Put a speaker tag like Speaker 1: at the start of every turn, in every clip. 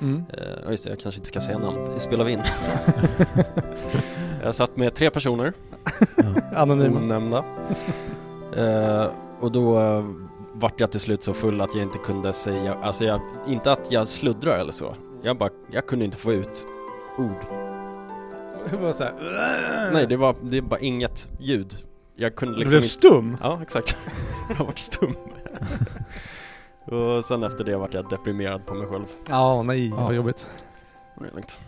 Speaker 1: Mm.
Speaker 2: Eh, ja, just det, jag kanske inte ska säga namn. Det spelar vi in. jag satt med tre personer,
Speaker 1: Anonyma.
Speaker 2: onämnda. Eh, och då eh, vart jag till slut så full att jag inte kunde säga, alltså jag, inte att jag sluddrar eller så. Jag bara, jag kunde inte få ut ord.
Speaker 1: Det var så här.
Speaker 2: Nej, det var, det var inget ljud. Jag kunde
Speaker 1: Du
Speaker 2: liksom
Speaker 1: blev
Speaker 2: inte...
Speaker 1: stum.
Speaker 2: Ja, exakt. jag har varit stum. och sen efter det vart jag deprimerad på mig själv.
Speaker 1: Ja, nej,
Speaker 3: Ja.
Speaker 1: vad jobbigt.
Speaker 2: Det är lugnt.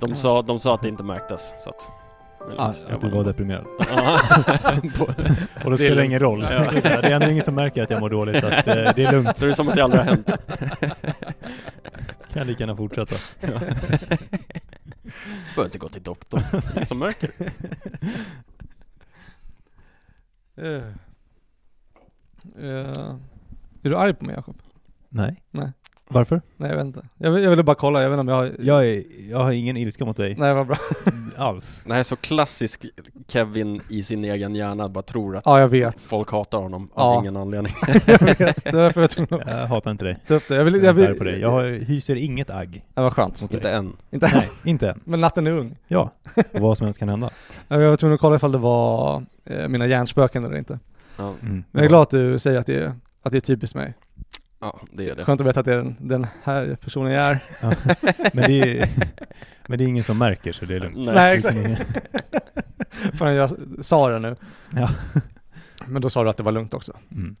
Speaker 2: De sa, de sa att det inte märktes, så att... det är
Speaker 3: Ah,
Speaker 2: lugnt.
Speaker 3: att du
Speaker 2: Jag
Speaker 3: var
Speaker 2: bara-
Speaker 3: deprimerad.
Speaker 2: Ja.
Speaker 3: Och då spelar det ingen roll.
Speaker 2: Ja.
Speaker 3: Det är ändå ingen som märker att jag mår dåligt, så att, eh, det är lugnt.
Speaker 2: Så det är som att det aldrig har hänt.
Speaker 3: Kan jag lika gärna fortsätta.
Speaker 2: Behöver inte gå till doktorn. Det är som mörker.
Speaker 1: Eh. Eh. Är du arg på mig Jakob?
Speaker 3: Nej.
Speaker 1: Nej.
Speaker 3: Varför?
Speaker 1: Nej jag vet inte. Jag, vill- jag ville bara kolla, jag vet inte om jag har...
Speaker 3: Eh, Jag, är, jag har ingen ilska mot dig
Speaker 1: Nej vad bra.
Speaker 3: alls.
Speaker 2: Det här är så klassisk Kevin i sin egen hjärna, bara tror att
Speaker 1: Ja jag vet.
Speaker 2: folk hatar honom
Speaker 1: Ja.
Speaker 2: av ingen anledning.
Speaker 1: jag vet. Det var därför jag var tvungen att
Speaker 3: Jag hatar inte dig.
Speaker 1: ta upp det. Jag vill,
Speaker 3: Jag,
Speaker 1: jag
Speaker 3: är
Speaker 1: vill,
Speaker 3: inte arg på dig. jag har, hyser inget agg.
Speaker 1: Det var skönt.
Speaker 3: Mot
Speaker 2: Inte än.
Speaker 1: Inte
Speaker 3: Nej, inte än.
Speaker 1: Men natten är ung.
Speaker 3: Ja, och vad som helst kan hända.
Speaker 1: Jag var tvungen att kolla ifall det var eh, mina hjärnspöken eller inte.
Speaker 2: Ja,
Speaker 3: Mm.
Speaker 1: Men jag är glad att du säger att det är, att det är typiskt mig.
Speaker 2: ja det är det.
Speaker 1: Skönt att veta att det är den, den här personen jag är.
Speaker 3: Ja. Men, det är, men det är ingen som märker, så det är lugnt.
Speaker 2: Nej.
Speaker 1: Förrän jag sa det nu.
Speaker 3: Ja.
Speaker 1: Men då sa du att det var lugnt också.
Speaker 3: Mm.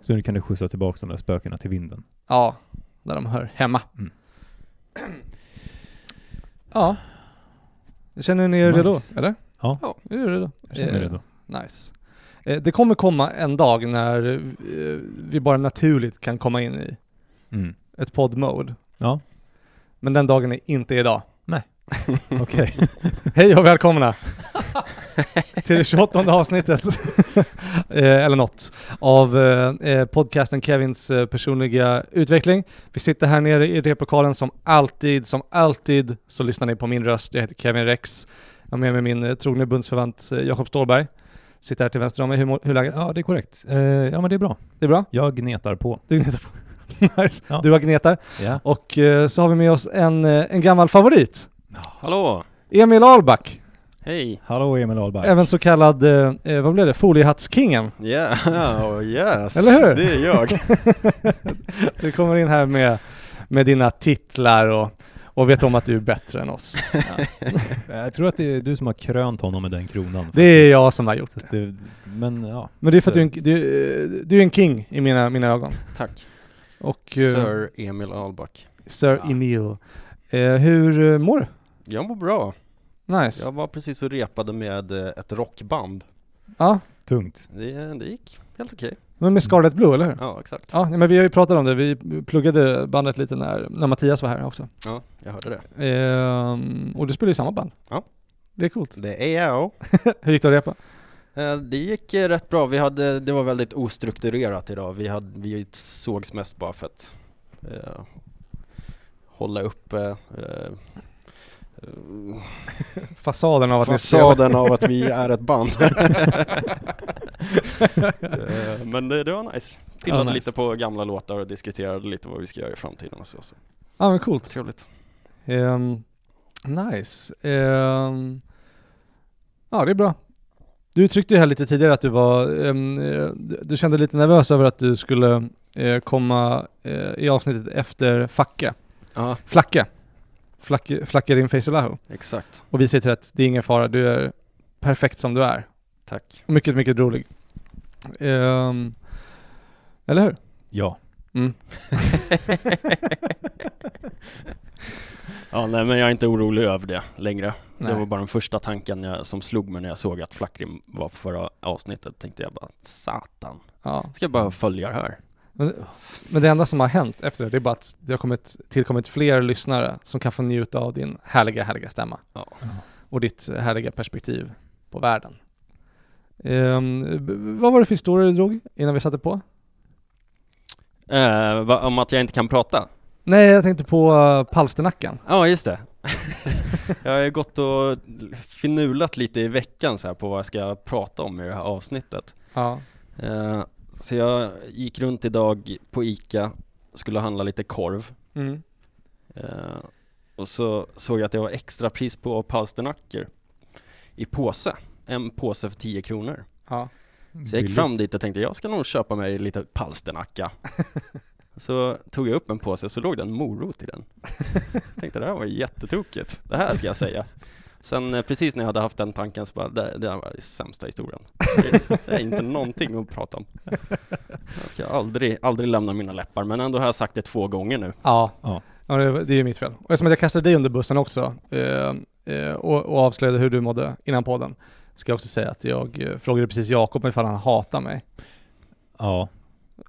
Speaker 3: Så nu kan du skjutsa tillbaka de där spökena till vinden.
Speaker 1: Ja, där de hör hemma.
Speaker 3: Mm.
Speaker 1: ja. Känner ni er
Speaker 3: Nice.
Speaker 1: redo? Eller?
Speaker 3: Ja.
Speaker 1: Är du redo?
Speaker 3: Jag känner mig
Speaker 1: Eh,
Speaker 3: redo.
Speaker 1: Nice. Eh, Det kommer komma en dag när eh, vi bara naturligt kan komma in i
Speaker 3: Mm.
Speaker 1: ett podd-mode.
Speaker 3: Ja,
Speaker 1: Men den dagen är inte idag.
Speaker 3: okej.
Speaker 1: Hej och välkomna till det 28 avsnittet, eh, eller något, av eh, eh, podcasten Kevins eh, personliga utveckling. Vi sitter här nere i replokalen som alltid, som alltid så lyssnar ni på min röst. Jag heter Kevin Rex. Jag har med mig min eh, trogne bundsförvant eh, Jakob Ståhlberg. Sitter här till vänster om mig. Hur, mår- hur är läget?
Speaker 3: Ja, det är korrekt. Eh, ja, men det är bra.
Speaker 1: Det är bra?
Speaker 3: Jag gnetar på.
Speaker 1: Du gnetar på. nice.
Speaker 3: Ja.
Speaker 1: Du har gnetar.
Speaker 3: Ja.
Speaker 1: Och eh, så har vi med oss en, eh, en gammal favorit.
Speaker 2: Hallå!
Speaker 1: Emil Ahlback.
Speaker 2: Hej!
Speaker 3: Hallå Emil Ahlberg.
Speaker 1: Även så kallad, eh, eh, vad blev det, foliehattskingen.
Speaker 2: Yeah, oh yes!
Speaker 1: Eller hur?
Speaker 2: Det är jag.
Speaker 1: Du kommer in här med, med dina titlar och, och vet om att du är bättre än oss.
Speaker 3: Jag tror att det är du som har krönt honom med den kronan.
Speaker 1: Det är jag som har gjort
Speaker 3: Så
Speaker 1: det.
Speaker 3: att det, men ja.
Speaker 1: Men det är för att du är en, du, eh, du är en king i mina, mina ögon.
Speaker 2: Tack.
Speaker 1: Och eh,
Speaker 2: Sir Emil Ahlback.
Speaker 1: Sir
Speaker 3: Ja.
Speaker 1: Emil. Eh, hur eh, mår du?
Speaker 2: Jag mår bra.
Speaker 1: Nice.
Speaker 2: Jag var precis och repade med eh, ett rockband.
Speaker 1: Ja,
Speaker 3: Tungt.
Speaker 2: Det, det gick helt okej.
Speaker 1: men med Scarlet Blue, eller hur?
Speaker 2: Ja, exakt.
Speaker 1: Ja, nej, men vi har ju pratat om det. Vi pluggade bandet lite när, när Mattias var här också.
Speaker 2: Ja, jag hörde det.
Speaker 1: Ehm, och du spelar ju samma band.
Speaker 2: Ja.
Speaker 1: Det är coolt.
Speaker 2: Det är jag.
Speaker 1: Hur gick det att repa?
Speaker 2: Eh, Det gick eh, rätt bra. Vi hade, det var väldigt ostrukturerat idag. Vi, hade, vi sågs mest bara för att eh, hålla uppe eh, eh,
Speaker 1: Fasaden av att ni spelar.
Speaker 2: fasaden av att vi är ett band. Eh, Men det, det var nice. Pillade
Speaker 1: nice.
Speaker 2: lite på gamla låtar och diskuterade lite vad vi ska göra i framtiden och så. så.
Speaker 1: Ja, men coolt.
Speaker 2: Trevligt.
Speaker 1: Ehm, nice. Ehm, ja, det är bra. Du uttryckte ju här lite tidigare att du var, ehm, eh, du kände lite nervös över att du skulle eh, komma eh, i avsnittet efter Facke.
Speaker 2: Ja,
Speaker 1: Flacke. Flacke, Flacke din face Olaho.
Speaker 2: exakt.
Speaker 1: Och vi säger till dig att det är ingen fara, du är perfekt som du är.
Speaker 2: Tack.
Speaker 1: Och mycket, mycket rolig. Ehm, eller hur?
Speaker 3: Ja.
Speaker 2: Ja, nej, men jag är inte orolig över det längre.
Speaker 1: Nej.
Speaker 2: Det var bara den första tanken jag, som slog mig när jag såg att Flackrim var på förra avsnittet. Tänkte jag bara, satan.
Speaker 1: Ja.
Speaker 2: Ska jag bara följa det här?
Speaker 1: Men, men det enda som har hänt efter det, det är bara att det har kommit, tillkommit fler lyssnare som kan få njuta av din härliga, härliga stämma.
Speaker 2: Ja.
Speaker 1: Och ditt härliga perspektiv på världen. Ehm, b- vad var det för historia du drog innan vi satte på?
Speaker 2: Eh, va, om att jag inte kan prata?
Speaker 1: Nej, jag tänkte på uh, palsternackan.
Speaker 2: Ja, just det. jag har ju gått och finulat lite i veckan så här på vad jag ska prata om i det här avsnittet.
Speaker 1: Ja.
Speaker 2: Eh, Så jag gick runt idag på ICA, skulle handla lite korv.
Speaker 1: Mm.
Speaker 2: Eh, och så såg jag att det var extra pris på palsternackor i påse. En påse för 10 kronor.
Speaker 1: Ja.
Speaker 2: Så jag gick fram dit och tänkte jag ska nog köpa mig lite palsternacka. Så tog jag upp en påse så låg det en morot i den. tänkte det här var jättetokigt. Det här ska jag säga. Sen eh, precis när jag hade haft den tanken så bara, det, det här var den sämsta historien. Det, det är inte någonting att prata om. Jag ska aldrig, aldrig lämna mina läppar, men ändå har jag sagt det två gånger nu.
Speaker 1: Ja.
Speaker 3: Ja.
Speaker 1: ja, det det är ju mitt fel. Och eftersom att jag kastade dig under bussen också eh, eh, och, och avslöjade hur du mådde innan podden, ska jag också säga att jag eh, frågade precis Jakob ifall han hatar mig.
Speaker 3: Ja,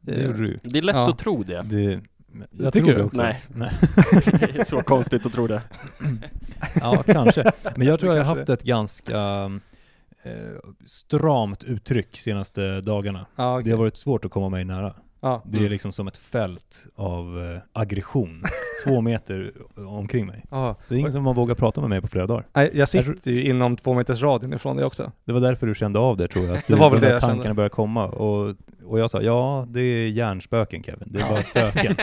Speaker 3: det
Speaker 1: Eh,
Speaker 3: gjorde du.
Speaker 2: Det är lätt
Speaker 1: Ja.
Speaker 2: att tro det.
Speaker 3: Det,
Speaker 1: Jag
Speaker 3: tror
Speaker 1: tycker
Speaker 3: det
Speaker 1: det.
Speaker 3: också.
Speaker 2: Nej.
Speaker 3: Nej.
Speaker 2: Det är så konstigt att tro det.
Speaker 3: Ja, kanske. Men jag tror jag har
Speaker 1: Kanske
Speaker 3: haft ett ganska eh, stramt uttryck senaste dagarna.
Speaker 1: Ja, okej. Mm.
Speaker 3: Det har varit svårt att komma mig nära.
Speaker 1: ja.
Speaker 3: Det är liksom som ett fält av eh, aggression, två meter omkring mig.
Speaker 1: Ja.
Speaker 3: Det är ingen som har vågat prata med mig på flera dagar.
Speaker 1: Nej, Jag sitter ju inom två meters radien ifrån dig också.
Speaker 3: Det var därför du kände av det tror jag, att du,
Speaker 1: Det var väl
Speaker 3: de
Speaker 1: det
Speaker 3: där
Speaker 1: jag
Speaker 3: tankarna
Speaker 1: kände.
Speaker 3: började komma. Och, och jag sa, ja det är hjärnspöken Kevin, det är bara spöken.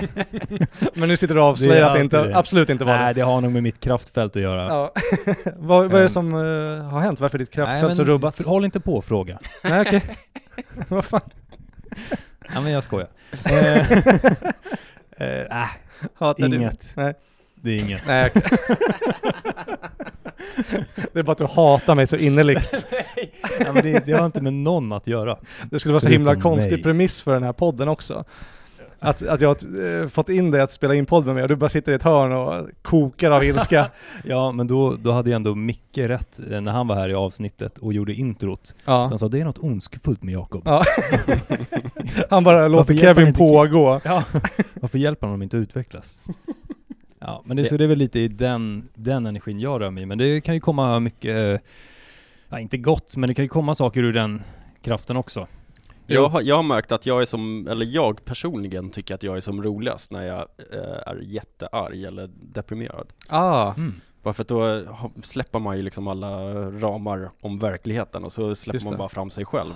Speaker 1: Men nu sitter du och avslöjar att det inte,
Speaker 3: alltid det.
Speaker 1: absolut inte var det.
Speaker 3: Nej, det har nog med mitt kraftfält att göra.
Speaker 1: Ja. vad, vad är det
Speaker 3: Ehm.
Speaker 1: som eh, har hänt? Varför är ditt
Speaker 3: Nej,
Speaker 1: kraftfält
Speaker 3: men
Speaker 1: så rubbat?
Speaker 3: Håll inte på och fråga.
Speaker 1: Nej okej. vad fan?
Speaker 3: Nej men jag skojar. Eh, eh, äh,
Speaker 1: Hatar du?
Speaker 3: Inget.
Speaker 1: Nej.
Speaker 3: det är inget.
Speaker 1: Nej okej. Det är bara att du hatar mig så innerligt.
Speaker 3: Nej, men det, det har inte med någon att göra.
Speaker 1: Det skulle vara så himla
Speaker 3: Förutom
Speaker 1: konstig
Speaker 3: mig.
Speaker 1: premiss för den här podden också. Att, att jag har eh, fått in dig att spela in podd med mig och du bara sitter i ett hörn och kokar av ilska.
Speaker 3: Ja, men då, då hade ju ändå Micke rätt eh, när han var här i avsnittet och gjorde introt.
Speaker 1: Ja.
Speaker 3: Han sa det är något ondskefullt med Jakob.
Speaker 1: Ja. Han bara låter
Speaker 3: hjälper han
Speaker 1: Kevin
Speaker 3: inte
Speaker 1: pågå.
Speaker 3: Varför hjälper honom inte att utvecklas? Ja, men det,
Speaker 2: Det-
Speaker 3: så det är väl lite i den, den energin jag rör mig i. Men det kan ju komma mycket, eh, ja, inte gott, men det kan ju komma saker ur den kraften också.
Speaker 2: Jag har, jag har märkt att jag är som, eller jag personligen tycker att jag är som roligast när jag eh, är jättearg eller deprimerad.
Speaker 1: Ah.
Speaker 3: Mm.
Speaker 2: Bara för att då ha- släpper man ju liksom alla ramar om verkligheten och så släpper
Speaker 1: Just
Speaker 2: man
Speaker 1: det.
Speaker 2: bara fram sig själv.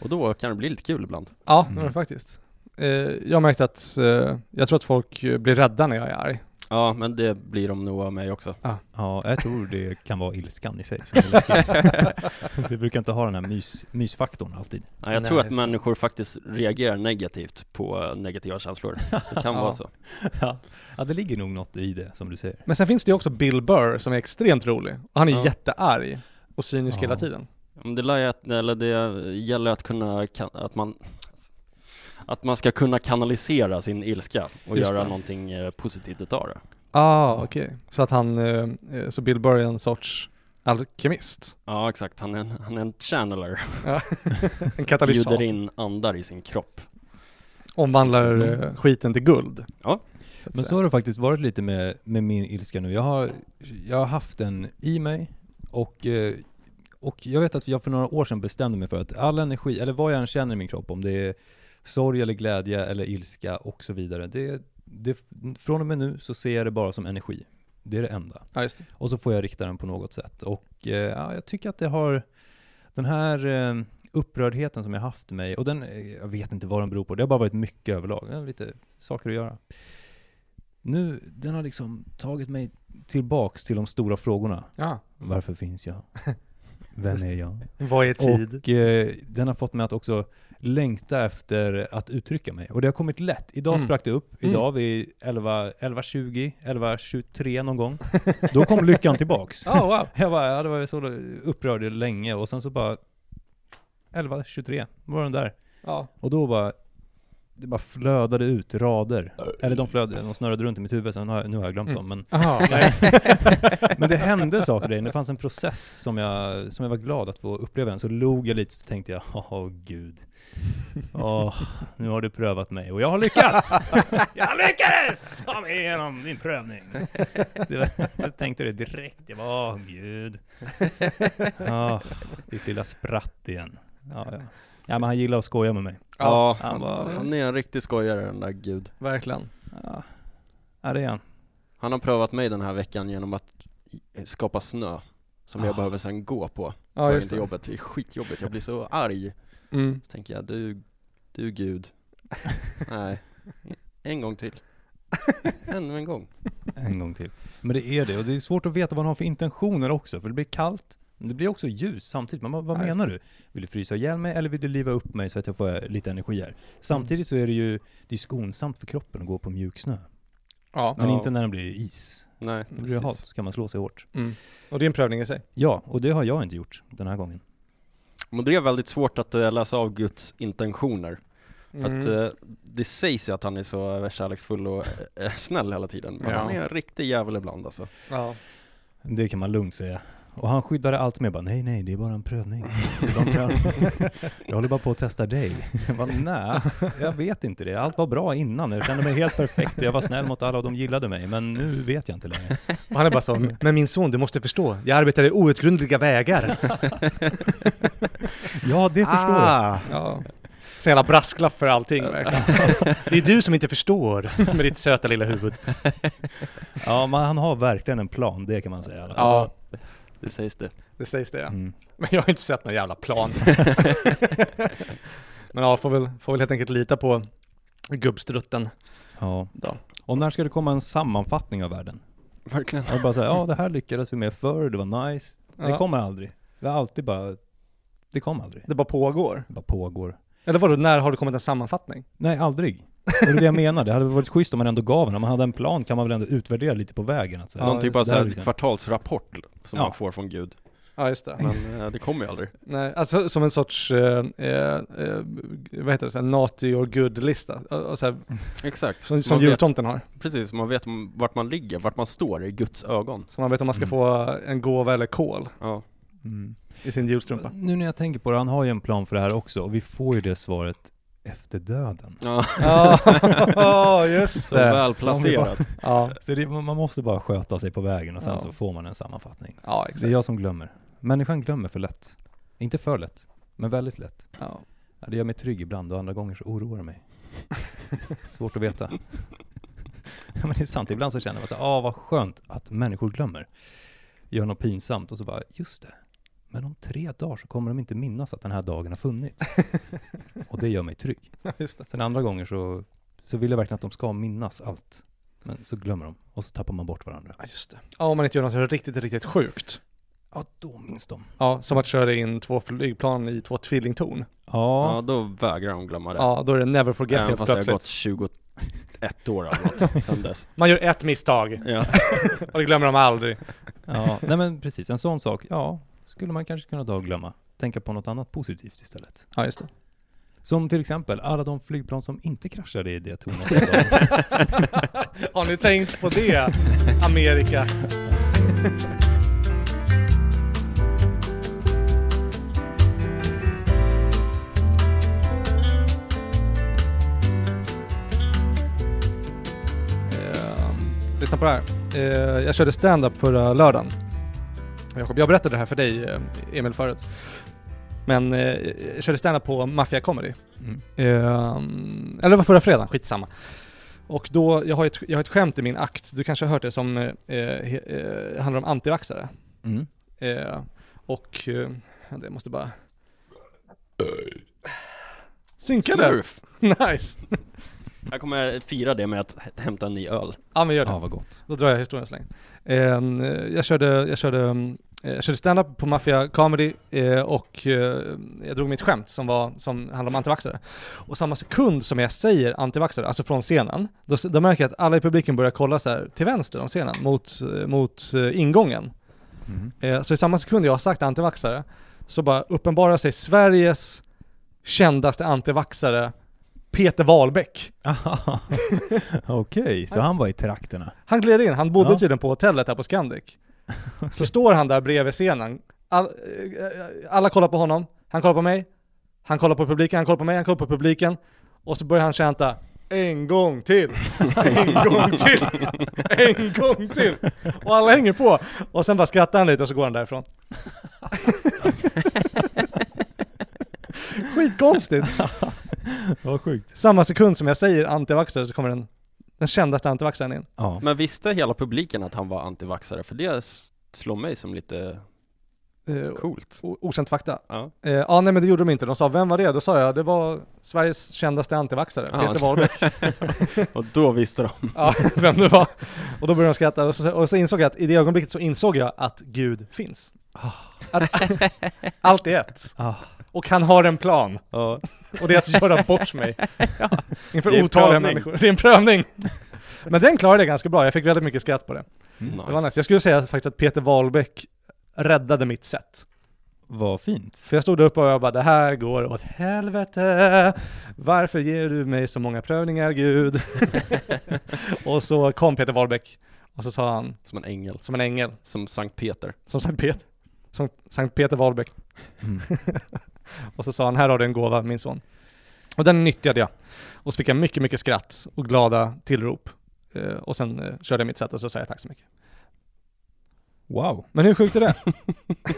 Speaker 2: Och då kan det bli lite kul ibland.
Speaker 1: Ja,
Speaker 3: Mm.
Speaker 1: men faktiskt. Eh, jag märkte att, eh, jag tror att folk eh, blir rädda när jag är arg.
Speaker 2: Ja, men det blir de nog av mig också.
Speaker 3: Ja, jag tror det kan vara ilskan i sig som är läskig. Vi brukar inte ha den här mys, mysfaktorn alltid.
Speaker 2: Ja, jag
Speaker 1: Nej,
Speaker 2: tror att
Speaker 1: just
Speaker 2: människor faktiskt reagerar negativt på eh, negativa känslor. Det kan
Speaker 1: Ja.
Speaker 2: vara så.
Speaker 3: Ja. ja, det ligger nog något i det som du säger.
Speaker 1: Men sen finns det ju också Bill Burr som är extremt rolig. Och han är
Speaker 2: Ja.
Speaker 1: jättearg och cynisk
Speaker 3: Ja.
Speaker 1: hela tiden.
Speaker 2: Men det, lär ju att, eller det gäller att kunna, kan- att man att man ska kunna kanalisera sin ilska och
Speaker 1: Just
Speaker 2: göra
Speaker 1: det.
Speaker 2: någonting eh, positivt utav det.
Speaker 1: Ah, okej. Så att han, eh, eh, så Bill Burr är en sorts alkemist.
Speaker 2: Ja, exakt. Han är en, han är en channeler.
Speaker 1: En
Speaker 2: Bjuder
Speaker 1: katalysator.
Speaker 2: in andar i sin kropp.
Speaker 1: Omvandlar
Speaker 3: Mm.
Speaker 1: eh, skiten till guld.
Speaker 2: Ja.
Speaker 1: Så att
Speaker 3: Men så
Speaker 1: säga.
Speaker 3: har det faktiskt varit lite med, med min ilska nu. Jag har, jag har haft den i mig och, eh, och jag vet att jag för några år sedan bestämde mig för att all energi, eller vad jag än känner i min kropp, om det är sorg eller glädje eller ilska och så vidare. Det, det, från och med nu så ser jag det bara som energi. Det är det enda.
Speaker 1: Ja, just det.
Speaker 3: Och så får jag rikta den på något sätt. Och eh, ja, jag tycker att det har den här eh, upprördheten som jag haft i mig, och den, eh, jag vet inte vad den beror på, det har bara varit mycket överlag. Jag har lite saker att göra. Nu, den har liksom tagit mig tillbaks till de stora frågorna.
Speaker 1: Ja.
Speaker 3: Varför finns jag? Vem är jag?
Speaker 1: Vad är
Speaker 3: Och eh, den har fått mig att också längta efter att uttrycka mig. Och det har kommit lätt. Idag
Speaker 1: Mm.
Speaker 3: sprack det upp.
Speaker 1: Mm.
Speaker 3: Idag vid 11 11.20, 11.23 någon gång. Då kom lyckan tillbaks.
Speaker 1: Ah, wow.
Speaker 3: Jag bara, ja, det var så upprörd länge och sen så bara 11.23 var den där.
Speaker 1: Ja.
Speaker 3: Och då bara, det bara flödade ut rader. Eller de flödade, de snurrade runt i mitt huvud, sen har jag, nu har jag glömt
Speaker 1: Mm.
Speaker 3: dem. Men,
Speaker 1: Aha, nej.
Speaker 3: men det hände saker där inne. det fanns en process som jag, som jag var glad att få uppleva. Så log jag lite, så tänkte jag, åh gud. Åh, nu har du prövat mig och jag har lyckats! jag lyckades ta mig igenom din prövning! Det var, jag tänkte det direkt, jag bara, åh gud. Ja, ditt lilla spratt igen. Ja, ja. ja, men han gillar att skoja med mig.
Speaker 2: Ja,
Speaker 3: han
Speaker 2: han,
Speaker 3: var-
Speaker 2: han är en riktig skojare den där gud.
Speaker 1: Verkligen.
Speaker 3: Ja, ja det är han.
Speaker 2: Han har prövat mig den här veckan genom att eh, skapa snö som jag
Speaker 3: Ah.
Speaker 2: behöver sen gå på
Speaker 1: Ja,
Speaker 2: för
Speaker 1: just
Speaker 2: inte
Speaker 1: det.
Speaker 2: jobbet. Det är skitjobbigt, jag blir så arg.
Speaker 1: Mm.
Speaker 2: Så tänker jag, du Du Gud. Nej. En gång till. Ännu en gång.
Speaker 3: En gång till. Men det är det, och det är svårt att veta vad han har för intentioner också, för det blir kallt, men det blir också ljus samtidigt. Man bara, vad
Speaker 2: Ja, just
Speaker 3: menar du? Vill du frysa ihjäl mig eller vill du liva upp mig så att jag får lite energi här? Samtidigt så är det ju, det är skonsamt för kroppen att gå på mjuk snö.
Speaker 1: Ja.
Speaker 3: Men
Speaker 2: Ja.
Speaker 3: inte när den blir is.
Speaker 2: Nej,
Speaker 3: Då blir det halt,
Speaker 2: precis.
Speaker 3: så kan man slå sig hårt.
Speaker 1: Mm. Och det är en prövning i sig.
Speaker 3: Ja, och det har jag inte gjort den här gången.
Speaker 2: Men det är väldigt svårt att eh, läsa av Guds intentioner. För att
Speaker 1: Mm.
Speaker 2: eh, det sägs ju att han är så kärleksfull och eh, snäll hela tiden. Men
Speaker 1: Ja.
Speaker 2: han är en riktig jävel ibland alltså.
Speaker 1: ja.
Speaker 3: Det kan man lugnt säga. Och han skyddade allt med bara, nej nej, det är bara en prövning. Det är bara en prövning. jag håller bara på att testa dig. Jag bara, nej, jag vet inte det. Allt var bra innan, jag kände mig helt perfekt och jag var snäll mot alla och de gillade mig. Men nu vet jag inte längre.
Speaker 1: Och han är bara så, men min son, du måste förstå, jag arbetar i outgrundliga vägar.
Speaker 3: Ja, det förstår jag.
Speaker 1: Ja. Så jävla brasklapp för allting verkligen. Det är du som inte förstår med ditt söta lilla huvud.
Speaker 3: Ja, men han har verkligen en plan, det kan man säga. i alla fall.
Speaker 2: Ja, det sägs det.
Speaker 1: Det sägs det ja.
Speaker 3: Mm.
Speaker 1: Men jag har inte sett någon jävla plan. men ja, får väl, får väl helt enkelt lita på gubbstrutten.
Speaker 3: ja.
Speaker 2: Ja,
Speaker 3: Och när ska det komma en sammanfattning av världen?
Speaker 2: verkligen.
Speaker 3: Jag bara säga, ja det här lyckades vi med förr, det var nice. Det
Speaker 1: Ja.
Speaker 3: kommer aldrig. Det har alltid bara, det kom aldrig.
Speaker 1: Det bara pågår.
Speaker 3: Det bara pågår.
Speaker 1: Eller vadå, när har det kommit en sammanfattning?
Speaker 3: Nej, aldrig. Och det är det jag menar. Det hade varit schysst om man ändå gav en. Om man hade en plan kan man väl ändå utvärdera lite på vägen. Att säga.
Speaker 2: Någon typ av
Speaker 3: det
Speaker 2: så
Speaker 3: här är
Speaker 2: här
Speaker 3: liksom-
Speaker 2: kvartalsrapport som
Speaker 3: Ja.
Speaker 2: man får från Gud.
Speaker 1: Ja, just det.
Speaker 2: Men eh, det kommer ju aldrig.
Speaker 1: Nej, alltså som en sorts, eh, eh, eh, vad heter det, så här, not your good-lista. Och- och så här,
Speaker 2: Exakt.
Speaker 1: Som,
Speaker 2: Så
Speaker 1: som
Speaker 2: man vet,
Speaker 1: jultomten har.
Speaker 2: precis, man vet m- vart man ligger, vart man står i Guds ögon.
Speaker 1: Så man vet om man ska
Speaker 3: Mm.
Speaker 1: få en gåva eller kol
Speaker 2: Ja.
Speaker 3: Mm.
Speaker 1: i sin julstrumpa.
Speaker 3: Nu när jag tänker på det, han har ju en plan för det här också. Och vi får ju det svaret efter döden.
Speaker 2: ja.
Speaker 1: Ja, just
Speaker 2: Eh, Så
Speaker 1: det.
Speaker 2: väl placerat.
Speaker 1: Ja,
Speaker 3: Så det, man måste bara sköta sig på vägen och sen
Speaker 1: Ja.
Speaker 3: så får man en sammanfattning.
Speaker 1: ja
Speaker 3: Det är
Speaker 1: exakt.
Speaker 3: jag som glömmer. Människan glömmer för lätt. Inte för lätt, men väldigt lätt.
Speaker 1: Ja.
Speaker 3: Ja, det gör mig trygg ibland och andra gånger så oroar det mig. Svårt att veta. Ja, men det är sant, ibland så känner man så här, ah vad skönt att människor glömmer. Gör något pinsamt och så bara, just det. Men om tre dagar så kommer de inte minnas att den här dagen har funnits. och det gör mig trygg.
Speaker 1: Just det.
Speaker 3: Sen andra gånger så, så vill jag verkligen att de ska minnas allt. Men så glömmer de och så tappar man bort varandra.
Speaker 1: Ja, just det. Ja, om man inte gör något riktigt, riktigt sjukt.
Speaker 3: Ja, då minns de.
Speaker 1: Ja, som att köra in två flygplan i två tvillingtorn.
Speaker 3: Ja,
Speaker 2: Ja, då vägrar de glömma det.
Speaker 1: Ja, då är det never forget
Speaker 2: Även
Speaker 1: helt
Speaker 2: fast det har
Speaker 1: plötsligt.
Speaker 2: gått 21 år eller något sedan dess.
Speaker 1: Man gör ett misstag
Speaker 2: Ja.
Speaker 1: och det glömmer de aldrig.
Speaker 3: Ja, nej men precis. En sån sak, ja, skulle man kanske kunna ta och glömma. Tänka på något annat positivt istället.
Speaker 1: Ja, just det.
Speaker 3: Som till exempel alla de flygplan som inte kraschade i det tornet. en dag.
Speaker 1: Har ni tänkt på det, Amerika? Eh, Lyssna på det här. Eh, Jag körde stand-up förra lördagen. Jakob, jag berättade det här för dig, eh, Emil, förut. Men eh, jag körde stand-up på Mafia Comedy.
Speaker 3: Mm.
Speaker 1: Ehm, eller det var förra fredagen, skitsamma. Och då, jag har, ett, jag har ett skämt i min akt, du kanske har hört det, som eh, he, eh, handlar om antivaxxare.
Speaker 3: Mm.
Speaker 1: Eh, och, eh, det måste bara... Synkade!
Speaker 2: Smurf!
Speaker 1: Nice!
Speaker 2: Jag kommer fira det med att h- hämta en ny öl.
Speaker 1: Ja men gör det.
Speaker 3: Ja, vad gott.
Speaker 1: Då drar jag historien så länge. Ehm, eh, jag körde, jag körde, mm, eh, jag körde stand-up på Mafia Comedy eh, och eh, jag drog mitt skämt som, var, som handlade om antivaxxare. Och samma sekund som jag säger antivaxxare, alltså från scenen, då, s- då märker jag att alla i publiken börjar kolla så här till vänster om scenen mot, eh, mot eh, ingången.
Speaker 3: Mm.
Speaker 1: Eh, så i samma sekund jag har sagt antivaxxare så bara uppenbarar sig Sveriges kändaste antivaxxare Peter Wahlbeck.
Speaker 3: Aha. Okej, så han var i trakterna.
Speaker 1: Han gled in, han bodde
Speaker 3: Ja.
Speaker 1: tydligen på hotellet här på Scandic. Så står han där bredvid scenen, All, eh, eh, alla kollar på honom, han kollar på mig, han kollar på publiken, han kollar på mig, han kollar på publiken och så börjar han tjänta en gång till, en gång till, en gång till. Och alla hänger på. Och sen bara skrattar han lite och så går han därifrån. Skitkonstigt.
Speaker 3: Vad sjukt.
Speaker 1: Samma sekund som jag säger antivaxxare så kommer den, den kändaste antivaxxaren in.
Speaker 3: Ja.
Speaker 2: Men visste hela publiken att han var antivaxxare? För det s- slår mig som lite
Speaker 1: eh,
Speaker 2: Coolt.
Speaker 1: o- okänt fakta.
Speaker 2: Ja.
Speaker 1: Eh, ja, nej men det gjorde de inte. De sa, vem var det? Då sa jag, det var Sveriges kändaste antivaxare,
Speaker 2: Ja.
Speaker 1: Peter Wahlbeck.
Speaker 2: Och då visste de.
Speaker 1: ja, vem det var. Och då började de skratta och så, och så insåg jag att i det ögonblicket så insåg jag att Gud finns.
Speaker 2: Ah.
Speaker 1: Att, allt är ett.
Speaker 3: Ah.
Speaker 1: Och han har en plan.
Speaker 2: Ja.
Speaker 1: Och det är att göra bort mig.
Speaker 2: Det är
Speaker 1: Inför
Speaker 2: en
Speaker 1: otaliga
Speaker 2: prövning.
Speaker 1: människor. Det är en prövning. Men den klarade jag ganska bra. Jag fick väldigt mycket skratt på det.
Speaker 3: Mm.
Speaker 2: Nice.
Speaker 1: Det var nice. Jag skulle säga faktiskt att Peter Wahlbeck räddade mitt set.
Speaker 3: Vad fint.
Speaker 1: För jag stod där uppe och jag bara, det här går åt helvete. Varför ger du mig så många prövningar, Gud? och så kom Peter Wahlbeck och så sa han,
Speaker 2: Som en ängel.
Speaker 1: som en ängel,
Speaker 2: Som Sankt Peter.
Speaker 1: som Sankt Peter, som Sankt Peter Wahlbeck.
Speaker 3: Mm.
Speaker 1: Och så sa han, här har du en gåva, min son. Och den nyttjade jag. Och så fick jag mycket, mycket skratt och glada tillrop. Eh, och sen eh, körde jag mitt sätt och så sa jag tack så mycket.
Speaker 3: Wow.
Speaker 1: Men hur sjukt är det?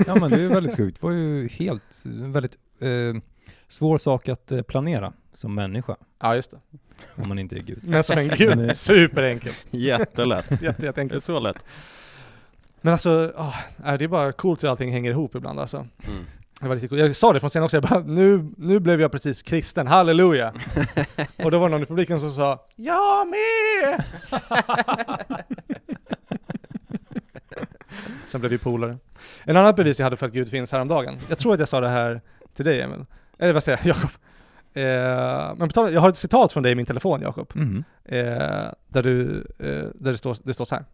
Speaker 3: Ja men det är ju väldigt sjukt. Det var ju helt, en väldigt eh, svår sak att eh, planera som människa.
Speaker 1: ja, just det.
Speaker 3: Om man inte är gud.
Speaker 1: Men som en gud, superenkelt.
Speaker 2: Jättelätt.
Speaker 1: Jätte,
Speaker 2: Det är
Speaker 1: jätteenkelt.
Speaker 2: så lätt.
Speaker 1: Men alltså, åh, nej, det är bara coolt hur allting hänger ihop ibland alltså.
Speaker 2: Mm.
Speaker 1: Det var riktigt coolt. Jag sa det från scenen också, jag bara, nu, nu blev jag precis kristen, halleluja! och då var det någon i publiken som sa, jag med! Sen blev vi polare. En annan bevis jag hade för att Gud finns häromdagen, jag tror att jag sa det här till dig Emil, eller vad säger jag, Jakob? Eh, men på tal- jag har ett citat från dig i min telefon Jakob,
Speaker 3: Mhm.
Speaker 1: eh, där, du, eh, där det, står, det står så här.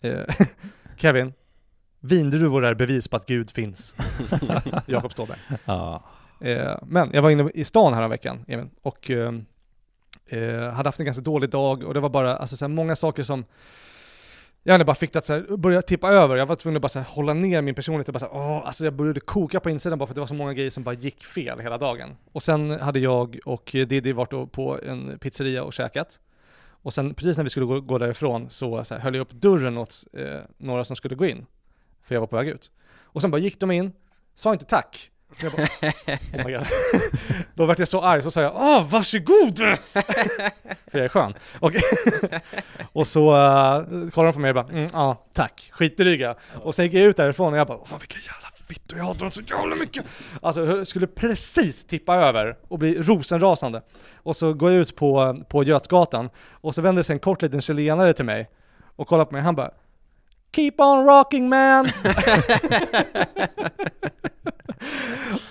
Speaker 1: Eh, Kevin, vindruvor är bevis på att Gud finns. Jakob står där.
Speaker 3: Ja.
Speaker 1: Eh, men jag var inne i stan här veckan Emil, och eh, eh, hade haft en ganska dålig dag och det var bara alltså, så här, många saker som jag hade bara fick det att så här, börja tippa över. Jag var tvungen att bara så här, hålla ner min personlighet och bara så här, åh, alltså jag började koka på insidan bara för att det var så många grejer som bara gick fel hela dagen. Och sen hade jag och Diddy varit och- på en pizzeria och käkat. Och sen precis när vi skulle gå, gå därifrån så, så här, höll jag upp dörren åt eh, några som skulle gå in. För jag var på väg ut. Och sen bara gick de in, sa inte tack. Jag bara, Oh my God. Då vart jag så arg så sa jag Åh, varsågod! För jag är skön. Och, och så uh, kollade de på mig och bara mm, ja, tack, skitdryga. Och sen gick jag ut därifrån och jag bara Åh, vilka jävla fittor, jag hatar dem så jävla mycket. Alltså jag skulle precis tippa över och bli rosenrasande. Och så går jag ut på, på Götgatan och så vänder sig en kort liten chilenare till mig och kollar på mig han bara Keep on rocking man!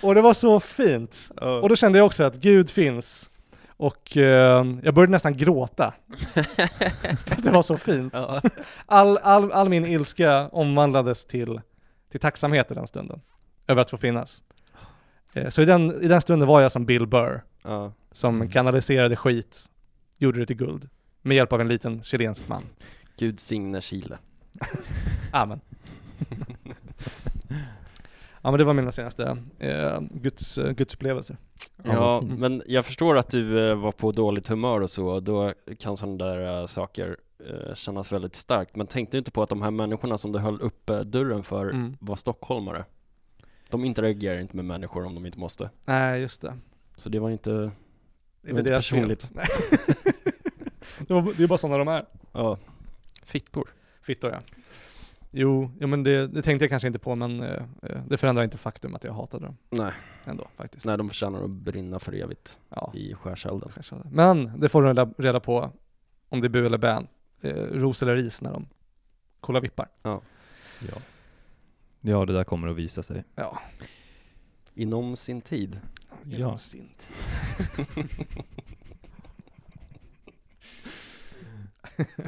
Speaker 1: och det var så fint. Och då kände jag också att Gud finns. Och eh, jag började nästan gråta. För att det var så fint.
Speaker 2: Ja.
Speaker 1: All, all, all min ilska omvandlades till, till tacksamhet i den stunden. Över att få finnas. Eh, så i den, i den stunden var jag som Bill Burr.
Speaker 2: Ja.
Speaker 1: Som kanaliserade skit, gjorde det till guld. Med hjälp av en liten chilensk man.
Speaker 2: Gud signe Chile.
Speaker 1: Amen. ja men det var mina senaste eh, Guds, eh, gudsupplevelser.
Speaker 3: Ja,
Speaker 2: Ja,
Speaker 3: vad fint.
Speaker 2: men jag förstår att du eh, var på dåligt humör och så, och då kan sådana där eh, saker eh, kännas väldigt starkt. Men tänkte inte på att de här människorna som du höll upp eh, dörren för
Speaker 1: Mm.
Speaker 2: var stockholmare. De interagerar inte med människor om de inte måste.
Speaker 1: Nej just det.
Speaker 2: Så det var inte,
Speaker 1: Det
Speaker 2: Det var inte
Speaker 1: deras fel.
Speaker 2: personligt.
Speaker 1: Nej. det, var, det är bara sådana de är.
Speaker 2: ja, fittor.
Speaker 1: Fittor ja. Jo, ja, men det, det tänkte jag kanske inte på men eh, eh, det förändrar inte faktum att jag hatade dem
Speaker 2: Nej,
Speaker 1: ändå faktiskt.
Speaker 2: nej de förtjänar att brinna för evigt
Speaker 1: Ja,
Speaker 2: i skärselden.
Speaker 1: kanske. Men det får du reda, reda på om det är bu eller bän. Eh, ros eller ris när de kollar vippar.
Speaker 3: Ja. ja, det där kommer att visa sig.
Speaker 1: Ja.
Speaker 2: Inom sin tid.
Speaker 3: Ja.
Speaker 1: Sint.